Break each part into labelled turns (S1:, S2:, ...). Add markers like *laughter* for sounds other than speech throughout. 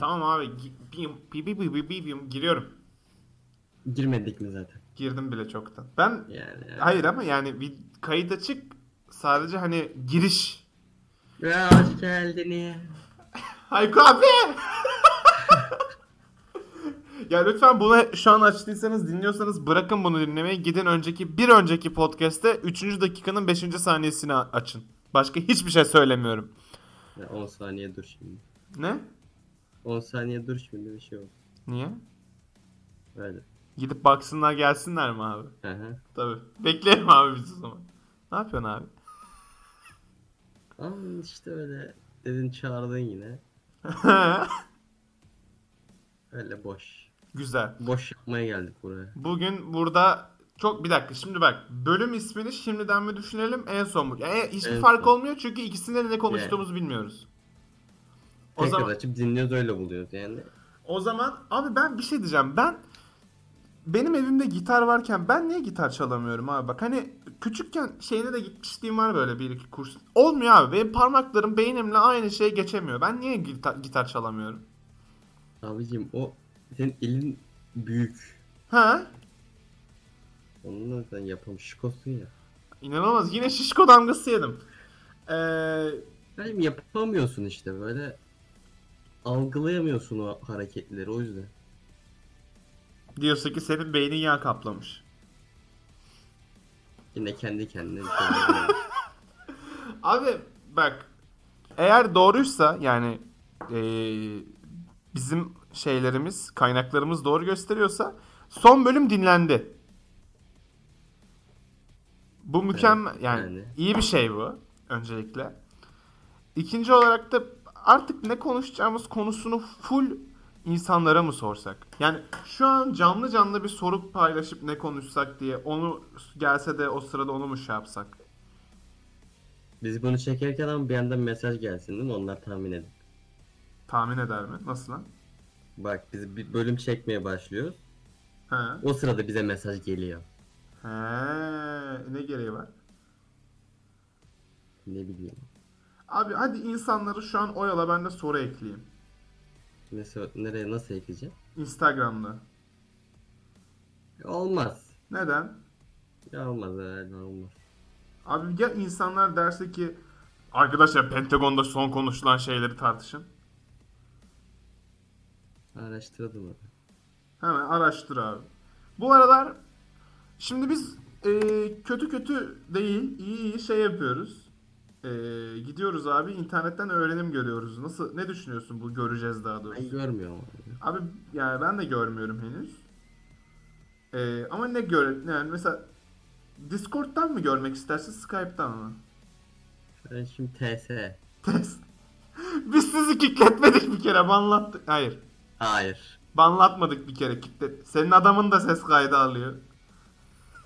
S1: Tamam abi. gi- bim, bi- bi- bi- bi- bi- bim, Giriyorum.
S2: Girmedik mi zaten?
S1: Girdim bile çoktan. Ben
S2: Yani.
S1: hayır ama yani bir kayıt açık sadece hani giriş.
S2: Ya hoş geldiniz.
S1: Hayko abi. *laughs* ya lütfen bunu şu an açtıysanız dinliyorsanız bırakın bunu dinlemeyi. Gidin önceki bir önceki podcast'te 3. dakikanın 5. saniyesini a- açın. Başka hiçbir şey söylemiyorum.
S2: Ya 10 saniye dur şimdi.
S1: Ne?
S2: 10 saniye dur şimdi bir şey oldu.
S1: Niye?
S2: Öyle.
S1: Gidip baksınlar gelsinler mi abi?
S2: Hı hı.
S1: Tabii. Bekleyelim abi biz o zaman. Ne yapıyorsun abi? *laughs*
S2: Ama işte öyle dedin çağırdın yine. Öyle boş.
S1: Güzel.
S2: Boş yapmaya geldik buraya.
S1: Bugün burada çok bir dakika şimdi bak bölüm ismini şimdiden mi düşünelim en son mu? Yani hiçbir
S2: En
S1: fark
S2: son.
S1: olmuyor çünkü ikisinde de ne konuştuğumuzu bilmiyoruz. O
S2: Tekrar
S1: zaman
S2: açıp dinliyoruz öyle buluyoruz yani.
S1: o zaman abi ben bir şey diyeceğim. Ben benim evimde gitar varken ben niye gitar çalamıyorum abi? Bak hani küçükken şeyine de gitmişliğim var böyle bir iki kurs. Olmuyor abi. Benim parmaklarım beynimle aynı şeye geçemiyor. Ben niye gitar, gitar çalamıyorum?
S2: Abicim o senin elin büyük.
S1: Ha?
S2: Onunla sen yapam şikosun ya.
S1: İnanılmaz. Yine şişko damgası yedim. Ee,
S2: Yani yapamıyorsun işte böyle algılayamıyorsun o hareketleri o yüzden.
S1: diyorsun ki senin beynin yağ kaplamış.
S2: Yine kendi kendine bir şey yapıyorsun.
S1: Abi bak eğer doğruysa yani eee, bizim şeylerimiz kaynaklarımız doğru gösteriyorsa son bölüm dinlendi. Bu mükemmel yani,
S2: yani.
S1: iyi bir şey bu öncelikle. İkinci olarak da artık ne konuşacağımız konusunu full insanlara mı sorsak? Yani şu an canlı canlı bir soru paylaşıp ne konuşsak diye onu gelse de o sırada onu mu şey yapsak?
S2: Biz bunu çekerken ama bir yandan mesaj gelsin değil mi? Onlar tahmin edin.
S1: Tahmin eder mi? Nasıl lan?
S2: Bak biz bir bölüm çekmeye başlıyoruz.
S1: Ha.
S2: O sırada bize mesaj geliyor.
S1: Ha. Ne gereği var?
S2: Ne bileyim.
S1: Abi hadi insanları şu an oyala ben de soru ekleyeyim.
S2: Ne, sor- nereye nasıl ekleyeceğim? E,
S1: Instagram'da.
S2: Olmaz.
S1: Neden?
S2: Ya olmaz herhalde olmaz.
S1: Abi ya insanlar derse ki arkadaşlar Pentagon'da son konuşulan şeyleri tartışın.
S2: Araştırdım abi.
S1: Hemen araştır abi. Bu aralar şimdi biz e, kötü kötü değil iyi iyi şey yapıyoruz. E, gidiyoruz abi internetten öğrenim görüyoruz. Nasıl ne düşünüyorsun bu göreceğiz daha doğrusu?
S2: Ben görmüyorum abi.
S1: Abi yani ben de görmüyorum henüz. Ee, ama ne gör yani mesela Discord'dan mı görmek istersin Skype'tan mı? *laughs*
S2: Ben şimdi TS.
S1: Test. Biz sizi kickletmedik bir kere banlattık. Hayır.
S2: Hayır.
S1: Banlatmadık bir kere kicklet. Senin adamın da ses kaydı alıyor.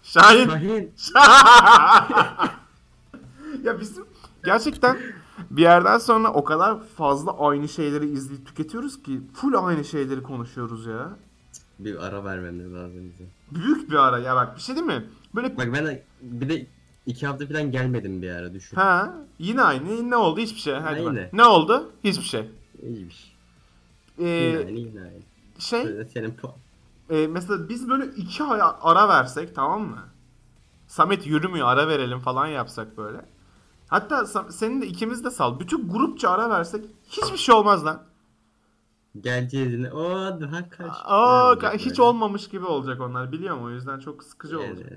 S1: Şahin.
S2: Şahin.
S1: ya bizim gerçekten bir yerden sonra o kadar fazla aynı şeyleri izleyip tüketiyoruz ki full aynı şeyleri konuşuyoruz ya.
S2: Bir ara vermemiz lazım bize.
S1: Büyük bir ara ya bak bir şey değil mi? Böyle
S2: Bak ben de- bir de iki hafta falan gelmedim bir ara düşün.
S1: Ha, yine aynı. Ne oldu? Hiçbir şey. Hadi
S2: Aynı.
S1: bak. Ne oldu? Hiçbir şey.
S2: İyiymiş.
S1: Ee,
S2: Yine aynı yine aynı.
S1: şey,
S2: Böyle Senin po-
S1: e, mesela biz böyle iki ay ara versek tamam mı? Samet yürümüyor ara verelim falan yapsak böyle. Hatta Sam- senin de ikimiz de sal. Bütün grupça ara versek hiçbir şey olmaz lan.
S2: geleceğiz yine. Oo daha kaç.
S1: Aa,
S2: Olacak
S1: hiç
S2: böyle.
S1: olmamış gibi olacak onlar biliyor musun? O yüzden çok sıkıcı
S2: Yani,
S1: olacak.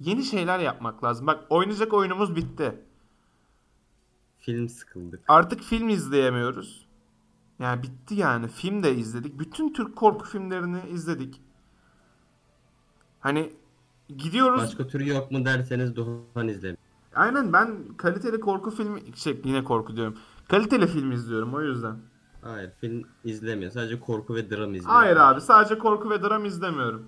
S1: Yeni şeyler yapmak lazım. Bak oynayacak oyunumuz bitti.
S2: Film sıkıldık.
S1: Artık film izleyemiyoruz. Yani bitti yani. Film de izledik. Bütün Türk korku filmlerini izledik. Hani gidiyoruz.
S2: Başka türü yok mu derseniz Doğan izlemiş.
S1: Aynen ben kaliteli korku filmi şey, yine korku diyorum. Kaliteli film izliyorum o yüzden.
S2: Hayır film izlemiyor. Sadece korku ve dram izliyor.
S1: Hayır abi sadece korku ve dram izlemiyorum.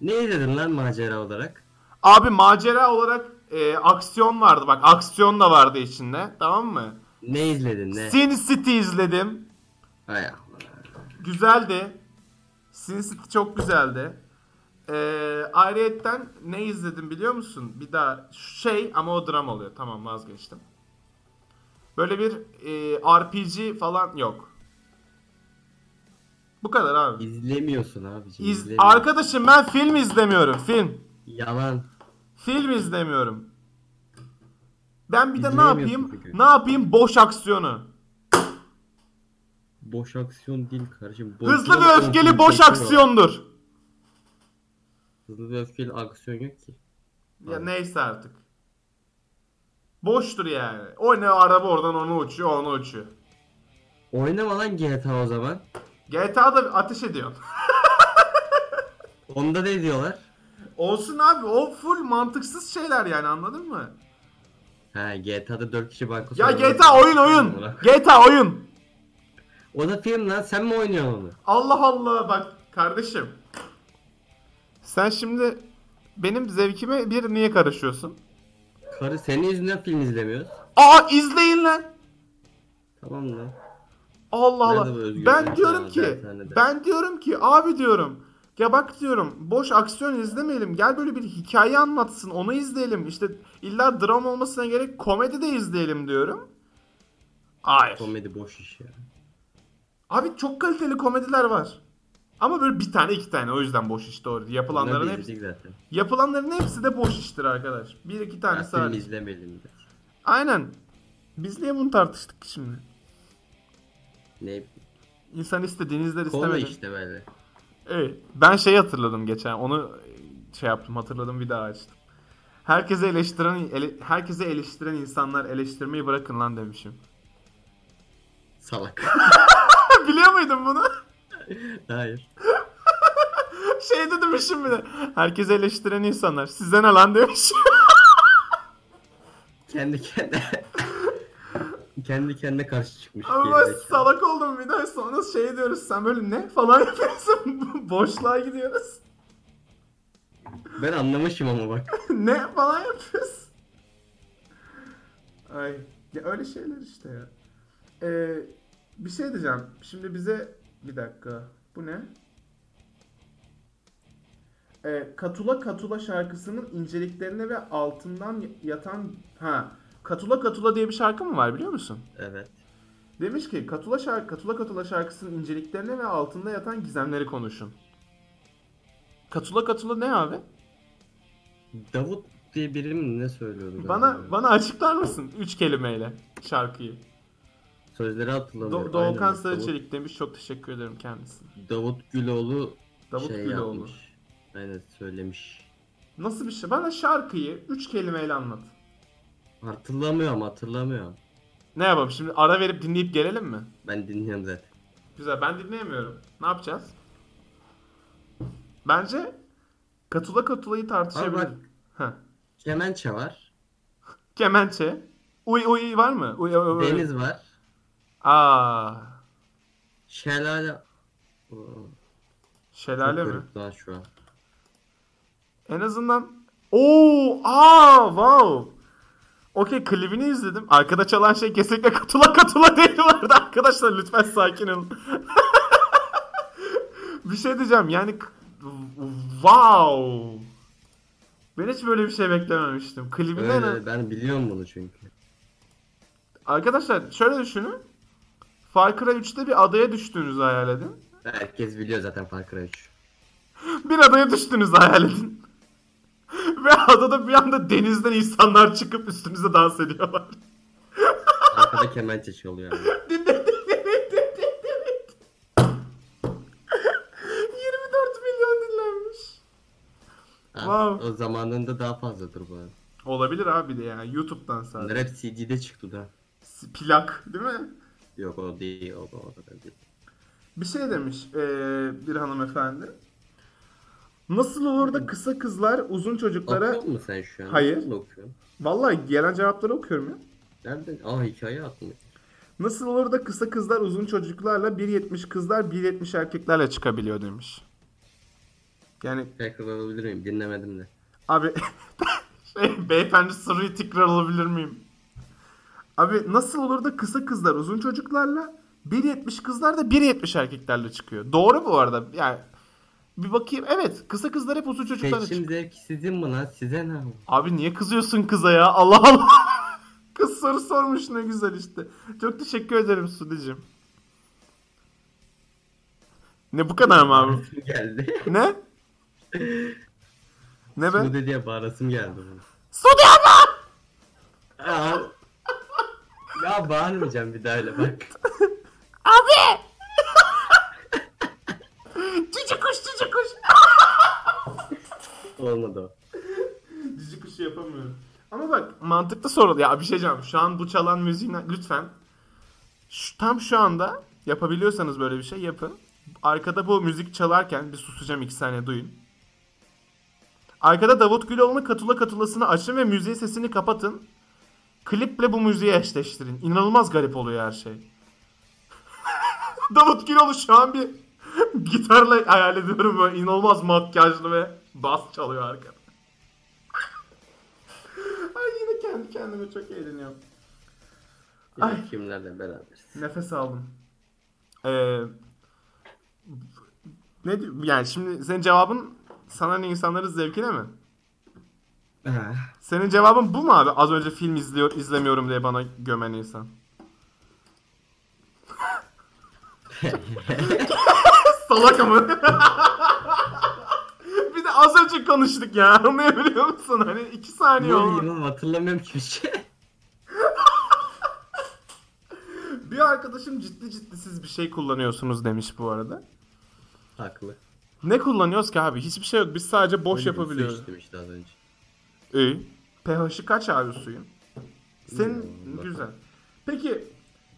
S2: Ne izledin lan macera olarak?
S1: Abi macera olarak e, aksiyon vardı bak aksiyon da vardı içinde tamam mı?
S2: Ne izledin ne?
S1: Sin City izledim.
S2: Ay,
S1: Güzeldi. Sin City çok güzeldi. Ee, ayrıyetten ne izledim biliyor musun? Bir daha şey ama o dram oluyor. Tamam vazgeçtim. Böyle bir e, RPG falan yok. Bu kadar abi.
S2: İzlemiyorsun abiciğim.
S1: İz-
S2: izlemiyorsun.
S1: Arkadaşım ben film izlemiyorum. Film.
S2: Yalan.
S1: Film izlemiyorum. Ben bir de ne
S2: İzleyemiyorsun
S1: yapayım?
S2: peki.
S1: Ne yapayım? Boş aksiyonu.
S2: Boş aksiyon değil kardeşim. Boş-
S1: Hızlı ve öfkeli boş aksiyondur.
S2: Hızlı ve öfkeli aksiyon yok ki.
S1: Ya
S2: Abi.
S1: neyse artık. Boştur yani. O ne araba oradan onu uçuyor, onu uçuyor.
S2: Oynama lan GTA o zaman.
S1: GTA'da ateş ediyor. *laughs*
S2: Onda ne diyorlar?
S1: Olsun abi o full mantıksız şeyler yani anladın mı?
S2: Ha GTA'da 4 kişi banko
S1: Ya
S2: soyuyor.
S1: GTA oyun oyun. GTA oyun.
S2: O da film lan sen mi oynuyorsun onu?
S1: Allah Allah bak kardeşim. Sen şimdi benim zevkime bir niye karışıyorsun?
S2: Karı senin yüzünden film izlemiyoruz.
S1: Aa izleyin lan.
S2: Tamam lan.
S1: Allah
S2: Nerede
S1: Allah.
S2: bu özgürlük
S1: Ben
S2: ya?
S1: diyorum ki
S2: Dershanede.
S1: ben diyorum ki abi diyorum. Ya bak diyorum boş aksiyon izlemeyelim. Gel böyle bir hikaye anlatsın onu izleyelim. İşte illa dram olmasına gerek komedi de izleyelim diyorum. Hayır.
S2: Komedi boş iş ya.
S1: Abi çok kaliteli komediler var. Ama böyle bir tane iki tane o yüzden boş iş doğru. Yapılanların
S2: Onları da
S1: hepsi,
S2: izledik zaten.
S1: yapılanların hepsi de boş iştir arkadaş. Bir iki
S2: Ya,
S1: tane
S2: film
S1: sadece.
S2: izlemeyelim de.
S1: Aynen. Biz niye bunu tartıştık ki şimdi?
S2: Ne?
S1: İnsan istediğini izler
S2: Konu
S1: istemediğini.
S2: işte böyle.
S1: Evet. Ben şey hatırladım geçen. Onu şey yaptım, hatırladım bir daha açtım. Herkese eleştiren ele- herkese eleştiren insanlar eleştirmeyi bırakın lan demişim. *laughs*
S2: Salak. *laughs*
S1: Biliyor muydun bunu? *laughs*
S2: Hayır.
S1: şey de demişim bir de. Herkese eleştiren insanlar size ne lan demişim. *laughs*
S2: Kendi kendine. *laughs* kendi kendine karşı çıkmış.
S1: Ama ben
S2: gerizekalı.
S1: salak oldum bir daha sonra şey diyoruz sen böyle ne falan *laughs* yapıyorsun. Boşluğa gidiyoruz.
S2: Ben anlamışım
S1: *laughs*
S2: ama bak.
S1: ne falan yapıyoruz. Ay ya öyle şeyler işte ya. Ee, bir şey diyeceğim. Şimdi bize bir dakika. Bu ne? Ee, Katula Katula şarkısının inceliklerine ve altından yatan ha Katula Katula diye bir şarkı mı var biliyor musun?
S2: Evet.
S1: Demiş ki Katula şarkı Katula Katula şarkısının inceliklerine ve altında yatan gizemleri konuşun. Katula Katula ne abi?
S2: Davut diye biri mi ne söylüyordu?
S1: Bana
S2: galiba?
S1: bana açıklar mısın üç kelimeyle şarkıyı?
S2: Sözleri
S1: Do-
S2: hatırlamıyorum. Aynen
S1: Doğukan
S2: bak, Davut-
S1: Sarıçelik demiş. Çok teşekkür ederim kendisine.
S2: Davut Güloğlu
S1: Davut
S2: şey
S1: Güloğlu.
S2: yapmış. Aynen söylemiş.
S1: Nasıl bir şey? Bana şarkıyı üç kelimeyle anlat.
S2: Hatırlamıyorum hatırlamıyorum.
S1: Ne yapalım şimdi? Ara verip dinleyip gelelim mi?
S2: Ben dinliyorum zaten.
S1: Güzel. Ben dinleyemiyorum. Ne yapacağız? Bence katula katulayı tartışabiliriz.
S2: bak.
S1: Heh.
S2: Kemençe var.
S1: Kemençe. Uy uy var mı? Uy uy uy.
S2: Deniz var.
S1: Aa.
S2: Şelale. Oo,
S1: Şelale
S2: çok
S1: mi?
S2: garip Lan şu an.
S1: En azından Oo, aa, wow. Okey klibini izledim. Arkada çalan şey kesinlikle katula katula *laughs* değil vardı arkadaşlar lütfen sakin olun. *laughs* bir şey diyeceğim yani k- wow. Ben hiç böyle bir şey beklememiştim. Klibinde en-
S2: Öyle, ben biliyorum bunu çünkü.
S1: Arkadaşlar şöyle düşünün. Far Cry 3'te bir adaya düştüğünüzü hayal edin. *laughs*
S2: Herkes biliyor zaten Far Cry 3.
S1: Bir adaya düştüğünüzü hayal edin. *laughs* Ve adada bir anda denizden insanlar çıkıp üstünüze dans ediyorlar.
S2: Arkada kemençe çalıyor. abi.
S1: 24 milyon dinlenmiş.
S2: Ha,
S1: Wow.
S2: O zamanında daha fazladır bu arada.
S1: Olabilir abi de yani YouTube'dan sadece.
S2: Bunlar hep CD'de çıktı da.
S1: S- Plak değil mi?
S2: Yok o değil, o, o da değil.
S1: Bir şey demiş eee, bir hanımefendi. Nasıl olur da kısa kızlar uzun çocuklara...
S2: Okuyor musun sen şu an?
S1: Hayır.
S2: Nasıl okuyorsun?
S1: Vallahi gelen cevapları okuyorum ya.
S2: Nereden? Aa hikaye atmış.
S1: Nasıl olur da kısa kızlar uzun çocuklarla 1.70 kızlar 1.70 erkeklerle çıkabiliyor demiş. Yani
S2: Tekrar alabilir miyim? Dinlemedim de.
S1: Abi *laughs* şey, beyefendi soruyu tekrar alabilir miyim? Abi nasıl olur da kısa kızlar uzun çocuklarla 1.70 kızlar da 1.70 erkeklerle çıkıyor. Doğru bu arada. Yani bir bakayım. Evet kısa kızlar hep uzun çocuklarla
S2: Seçim
S1: çıkıyor.
S2: zevki sizin mi lan? Size ne? abi?
S1: Abi niye kızıyorsun kıza ya? Allah Allah. *laughs* Kız soru sormuş ne güzel işte. Çok teşekkür ederim Sudi'cim. Ne bu kadar mı abi?
S2: Bağırasım *laughs* geldi.
S1: Ne? Ne be?
S2: Sude diye bağırasım geldi bunu.
S1: Sude abla!
S2: Ya, ya bağırmayacağım bir daha öyle bak.
S1: Abi! cici kuş cici kuş.
S2: Olmadı o.
S1: *laughs* cici kuşu yapamıyorum. şey Ama bak mantıklı soru. Ya bir şey diyeceğim. Şu an bu çalan müziği lütfen. Şu, tam şu anda yapabiliyorsanız böyle bir şey yapın. Arkada bu müzik çalarken bir susacağım iki saniye duyun. Arkada Davut Güloğlu'nun katula katulasını açın ve müziğin sesini kapatın. Kliple bu müziği eşleştirin. İnanılmaz garip oluyor her şey. *laughs* Davut Güloğlu şu an bir *laughs* gitarla hayal ediyorum böyle inanılmaz makyajlı ve bas çalıyor arkada. Ay yine kendi kendime çok eğleniyorum.
S2: Yani
S1: Ay.
S2: kimlerle beraberiz.
S1: Nefes aldım. Ee, ne diyor- yani şimdi senin cevabın sana ne insanların zevkine mi?
S2: Ha.
S1: Senin cevabın bu mu abi? Az önce film izliyor izlemiyorum diye bana gömen insan. *laughs* Salak ama. *laughs* bir de az önce konuştuk ya. Anlayabiliyor musun? Hani iki
S2: Ne
S1: saniye oldu.
S2: oğlum hatırlamıyorum ki bir şey.
S1: Bir arkadaşım ciddi ciddi siz bir şey kullanıyorsunuz demiş bu arada.
S2: *laughs* Haklı.
S1: Ne kullanıyoruz ki abi? Hiçbir şey yok. Biz sadece boş
S2: Öyle bir şey su
S1: yapabiliyoruz.
S2: içtim işte az önce.
S1: İyi. pH'i kaç abi suyun? Senin
S2: Bilmiyorum,
S1: güzel. Peki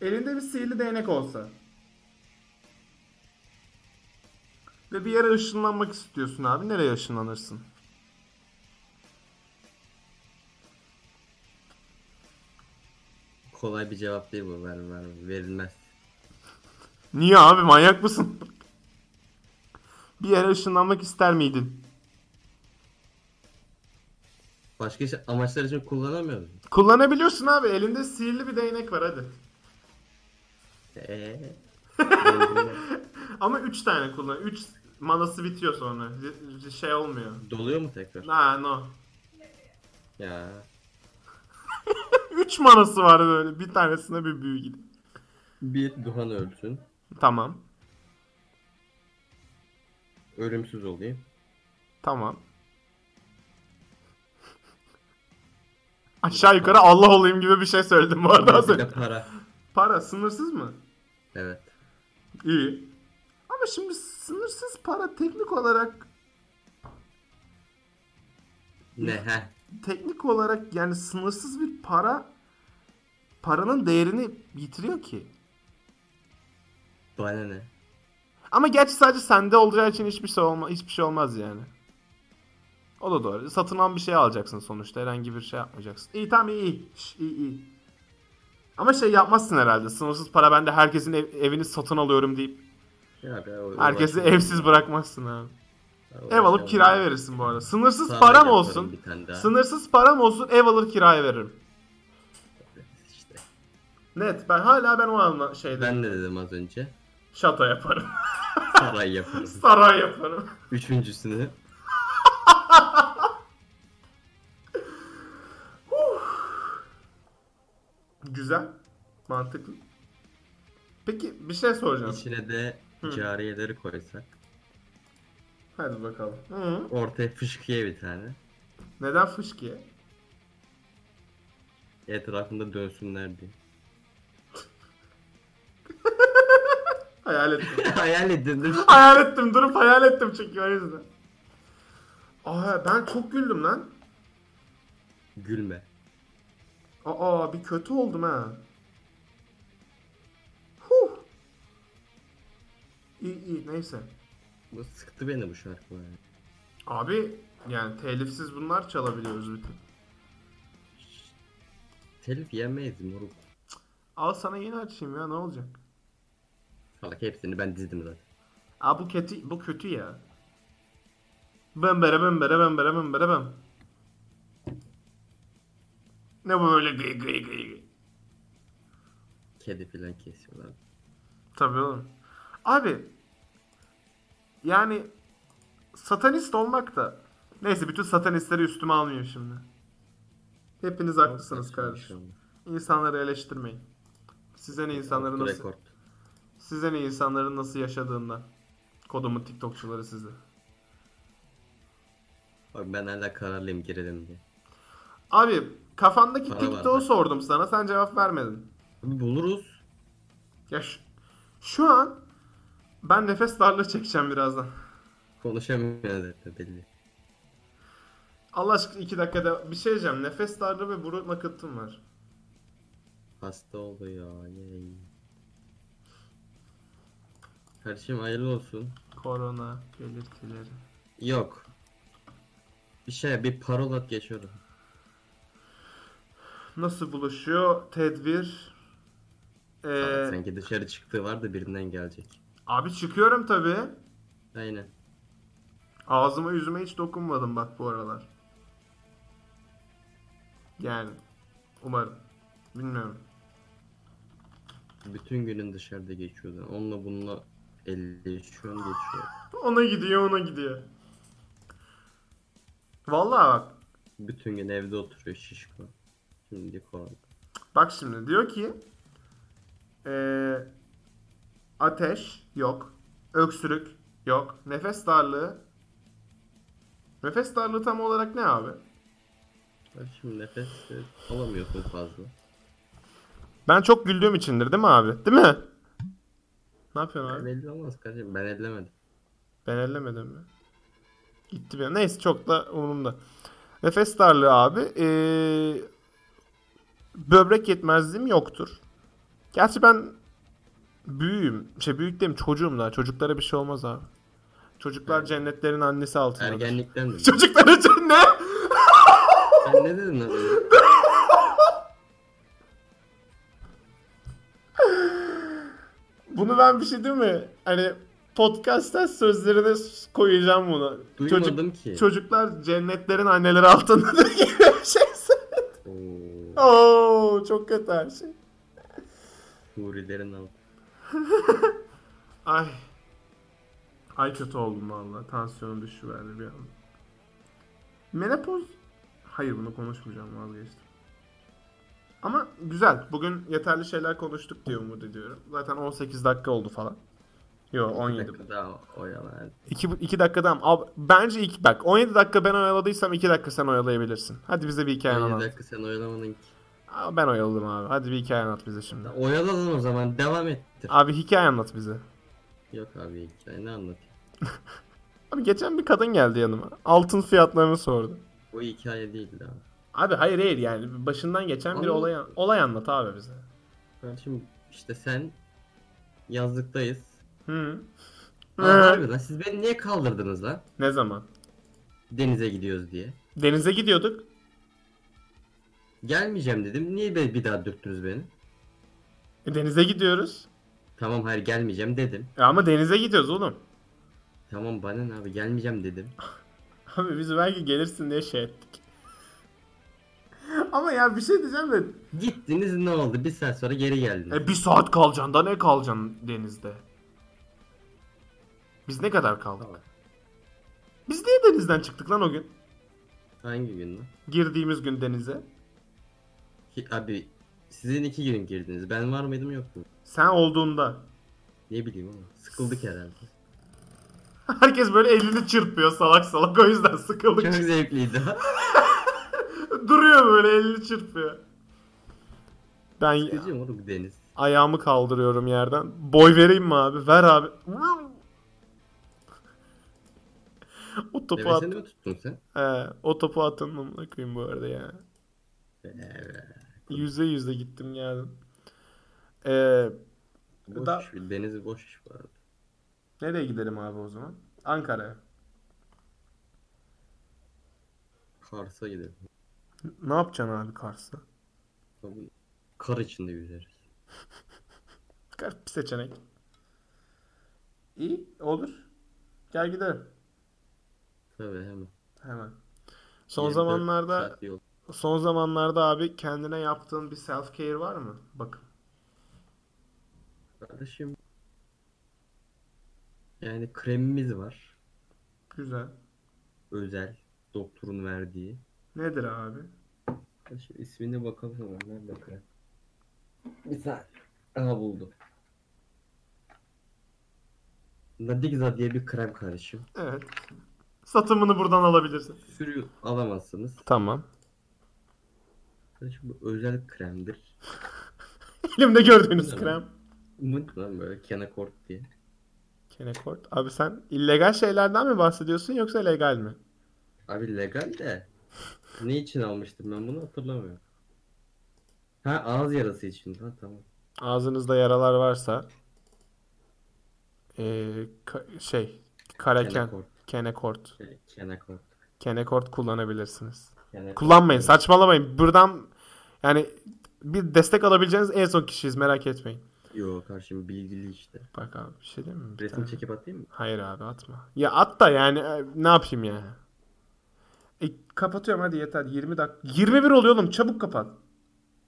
S1: elinde bir sihirli değnek olsa ve bir yere ışınlanmak istiyorsun abi. Nereye ışınlanırsın?
S2: Kolay bir cevap değil bu. Ver, ver, verilmez.
S1: Niye abi manyak mısın? *laughs* bir yere ışınlanmak ister miydin?
S2: Başka şey, amaçlar için kullanamıyorum.
S1: Kullanabiliyorsun abi. Elinde sihirli bir değnek var hadi. *laughs*
S2: Eee.
S1: Ama 3 tane kullan. 3 manası bitiyor sonra. Şey olmuyor.
S2: Doluyor mu tekrar?
S1: Ha no.
S2: Ya.
S1: 3 manası var böyle. Bir tanesine bir büyü gidiyor.
S2: Bir Duhan ölsün.
S1: Tamam.
S2: Ölümsüz olayım.
S1: Tamam. Aşağı yukarı Allah olayım gibi bir şey söyledim bu arada. az
S2: Bir
S1: önce.
S2: de para.
S1: Para sınırsız mı?
S2: Evet.
S1: İyi. Ama şimdi sınırsız para teknik olarak
S2: Ne he?
S1: teknik olarak yani sınırsız bir para paranın değerini yitiriyor ki.
S2: Bana ne?
S1: Ama gerçi sadece sende olacağı için hiçbir şey olma hiçbir şey olmaz yani. O da doğru. Satın alan bir şey alacaksın sonuçta. Herhangi bir şey yapmayacaksın. İyi tamam iyi iyi. Şş, iyi, iyi. Ama şey yapmazsın herhalde. Sınırsız para bende herkesin ev- evini satın alıyorum deyip
S2: Ya be, o-
S1: herkesi
S2: uğraşamam.
S1: evsiz bırakmazsın abi. Ev
S2: Uğraşamam.
S1: alıp kiraya verirsin bu arada. Sınırsız
S2: Sağ
S1: param
S2: yaparım
S1: olsun.
S2: Bir tane daha.
S1: Sınırsız param olsun ev alır kiraya veririm.
S2: İşte.
S1: Net. Ben hala ben o anla şeyden
S2: Ben ne dedim az önce?
S1: şato yaparım. *laughs*
S2: Saray yaparız.
S1: Saray yaparım.
S2: Üçüncüsünü.
S1: Güzel. Mantıklı. Peki bir şey soracağım.
S2: içine de cariyeleri koysak.
S1: Hadi bakalım.
S2: Ortaya fışkıya bir tane.
S1: Neden fışkiye?
S2: Etrafında dönsünler diye. *laughs*
S1: Hayal ettim. *laughs*
S2: Hayal edildim.
S1: hayal ettim durup hayal ettim çünkü o yüzden. Aa ben çok güldüm lan.
S2: Gülme.
S1: Aa bir kötü oldum ha. Huh. İyi iyi neyse.
S2: Bu sıktı beni bu şarkı. yani.
S1: Abi yani telifsiz bunlar çalabiliyoruz bütün.
S2: Telif yemeyiz moruk.
S1: Al sana yeni açayım ya ne olacak?
S2: Salak hepsini ben dizdim zaten.
S1: Aa bu kötü bu kötü ya. Bembere bembere bembere bembere bem. Ne bu böyle gıy gıy gıy gıy.
S2: Kedi filan kesiyorlar.
S1: Tabii oğlum. Abi yani satanist olmak da neyse bütün satanistleri üstüme almıyor şimdi. Hepiniz haklısınız
S2: şey
S1: kardeşim. İnsanları eleştirmeyin. Size ne insanların nasıl
S2: Rekord.
S1: size ne insanların nasıl yaşadığından. Kodumun TikTokçuları sizi.
S2: Bak ben hala kararlıyım girelim diye.
S1: Abi kafandaki
S2: Bana
S1: TikTok'u
S2: bak.
S1: sordum sana. Sen cevap vermedin.
S2: Abi buluruz.
S1: Ya şu, şu an ben nefes darlığı çekeceğim birazdan.
S2: Konuşamıyoruz zaten belli.
S1: Allah aşkına iki dakikada bir şey diyeceğim. Nefes darlığı ve burun akıntım var.
S2: Hasta oldu ya. Yay. Kardeşim hayırlı olsun.
S1: Korona belirtileri.
S2: Yok. Bir şey bir parolat geçiyorum.
S1: Nasıl buluşuyor? Tedbir. Ee,
S2: Sanki dışarı çıktığı var da birinden gelecek.
S1: abi çıkıyorum tabii.
S2: Aynen.
S1: Ağzıma yüzüme hiç dokunmadım bak bu aralar. Yani umarım. Bilmiyorum.
S2: Bütün günün dışarıda geçiyordu. Onunla bununla elleşiyor geçiyor.
S1: Ona gidiyor ona gidiyor. Vallahi bak.
S2: Bütün gün evde oturuyor şişko. Şimdi korona.
S1: Bak şimdi diyor ki eee, ateş yok. Öksürük yok. Nefes darlığı. Nefes darlığı tam olarak ne abi?
S2: Bak Şimdi nefes e, alamıyorsun fazla.
S1: Ben çok güldüğüm içindir değil mi abi? Değil mi? Ne yapıyorsun abi?
S2: Belli olmaz kardeşim ben ellemedim.
S1: Ben ellemedim mi? Gitti benim. Neyse çok da umurumda. Nefes darlığı abi. Ee, böbrek yetmezliğim yoktur. Gerçi ben büyüğüm. Şey büyük değilim çocuğum daha. Çocuklara bir şey olmaz abi. Çocuklar cennetlerin annesi altında.
S2: Ergenlikten
S1: *laughs*
S2: mi?
S1: Çocuklar için ne?
S2: Sen ne dedin lan? öyle?
S1: Bunu ben bir şey değil mi? Hani podcast'ta sözlerine koyacağım bunu.
S2: Duymadım ki.
S1: Çocuklar cennetlerin anneleri altında diye bir şey.
S2: Oo,
S1: Oo çok kötü her şey.
S2: hurilerin altı.
S1: Ay. Ay kötü oldum valla. Tansiyonum düşüverdi bir an. Menopoz... Hayır bunu konuşmayacağım vazgeçtim. Ama güzel. Bugün yeterli şeyler konuştuk diye umut ediyorum. Zaten 18 dakika oldu falan. Yo 17.
S2: Bir dakika Daha oyalan.
S1: 2, 2 dakikadan. Ab- Bence ilk bak 17 dakika ben oyaladıysam 2 dakika sen oyalayabilirsin. Hadi bize bir hikaye
S2: Bir
S1: anlat.
S2: dakika sen oyalamadın ki.
S1: Aa, Ben oyaladım abi. Hadi bir hikaye anlat bize şimdi.
S2: Oyaladın o zaman devam ettir.
S1: Abi hikaye anlat bize.
S2: Yok abi hikaye ne anlatayım?
S1: Abi geçen bir kadın geldi yanıma. Altın fiyatlarını sordu.
S2: O hikaye değildi abi.
S1: Abi hayır hayır yani başından geçen bir
S2: Anladım.
S1: olay olay anlat abi bize.
S2: Kardeşim işte sen yazlıktayız.
S1: Hı.
S2: Aa,
S1: Ee,
S2: abi lan siz beni niye kaldırdınız lan?
S1: *laughs* ne zaman?
S2: Denize gidiyoruz diye.
S1: Denize gidiyorduk.
S2: Gelmeyeceğim dedim. Niye be- bir daha dürttünüz beni?
S1: E, Denize gidiyoruz.
S2: Tamam hayır gelmeyeceğim dedim.
S1: E, ama denize gidiyoruz oğlum. *laughs*
S2: Tamam bana ne abi gelmeyeceğim dedim.
S1: Abi biz belki gelirsin diye şey ettik. ama ya bir şey diyeceğim de.
S2: Gittiniz ne oldu? Bir saat sonra geri geldiniz.
S1: E, bir saat kalacaksın da ne kalacaksın denizde? Biz ne kadar kaldık?
S2: Tamam.
S1: Biz niye denizden çıktık lan o gün?
S2: Hangi gün lan?
S1: Girdiğimiz gün denize.
S2: Ki- Abi sizin iki gün girdiniz. Ben var mıydım yok mu?
S1: Sen olduğunda. *laughs*
S2: Ne bileyim ama. Sıkıldık herhalde.
S1: Herkes böyle elini çırpıyor salak salak o yüzden
S2: Çok
S1: sıkıldık. *laughs*
S2: zevkliydi.
S1: Duruyor böyle elini çırpıyor. Ben
S2: Gideceğim oğlum deniz.
S1: ayağımı kaldırıyorum yerden. Boy vereyim mi abi? Ver abi. o topu at.
S2: Devesini mi tuttun sen?
S1: He, o topu atın amına koyayım bu arada ya.
S2: Evet.
S1: Yüzde yüzde gittim geldim. Ee,
S2: Boş
S1: Da-
S2: iş, deniz boş iş bu arada.
S1: nereye gidelim abi o zaman? Ankara'ya.
S2: Kars'a gidelim.
S1: Ne yapacaksın abi Kars'ta?
S2: Tabii Kar içinde yüzeriz.
S1: Kar bir seçenek. İyi olur. Gel gidelim.
S2: Tabii hemen.
S1: Hemen. Son
S2: 24
S1: zamanlarda
S2: saat yol.
S1: son zamanlarda abi kendine yaptığın bir self care var mı? Bak.
S2: Kardeşim. Yani kremimiz var.
S1: Güzel.
S2: Özel. Doktorun verdiği.
S1: Nedir abi?
S2: Kardeşim ismine bakalım hemen. Nerede krem? Bir saniye. Aha buldum. Nadigza diye bir krem karışım.
S1: Evet. Satımını buradan alabilirsin.
S2: Sürüyor alamazsınız.
S3: Tamam.
S2: Kardeşim bu özel kremdir.
S1: *laughs* Elimde gördüğünüz
S2: Evet.
S1: krem.
S2: Mınt lan böyle kenakort diye.
S1: Kenekort. Abi sen illegal şeylerden mi bahsediyorsun yoksa legal mi?
S2: Abi legal de. ne için almıştım ben bunu hatırlamıyorum. Ha ağız yarası için. Ha tamam.
S1: Ağzınızda yaralar varsa eee, ka- şey karaken
S2: Kenakort.
S1: kenekort
S2: Şey, Kenakort.
S1: kenekort kullanabilirsiniz.
S2: Kenakort.
S1: Kullanmayın, saçmalamayın. Buradan yani bir destek alabileceğiniz en son kişiyiz merak etmeyin.
S2: Yok karşım bilgili işte.
S1: Bak abi bir şey değil mi? Bir
S2: Resim
S1: tane-
S2: çekip atayım mı?
S1: Hayır abi atma. Ya at da yani e, ne yapayım ya? E, kapatıyorum hadi yeter 20 dakika. 21 oluyor oğlum çabuk kapat.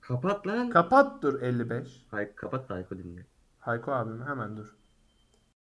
S2: Kapat lan.
S1: Kapat dur 55.
S2: Hay kapat da Hayko dinle.
S1: Hayko abim hemen dur.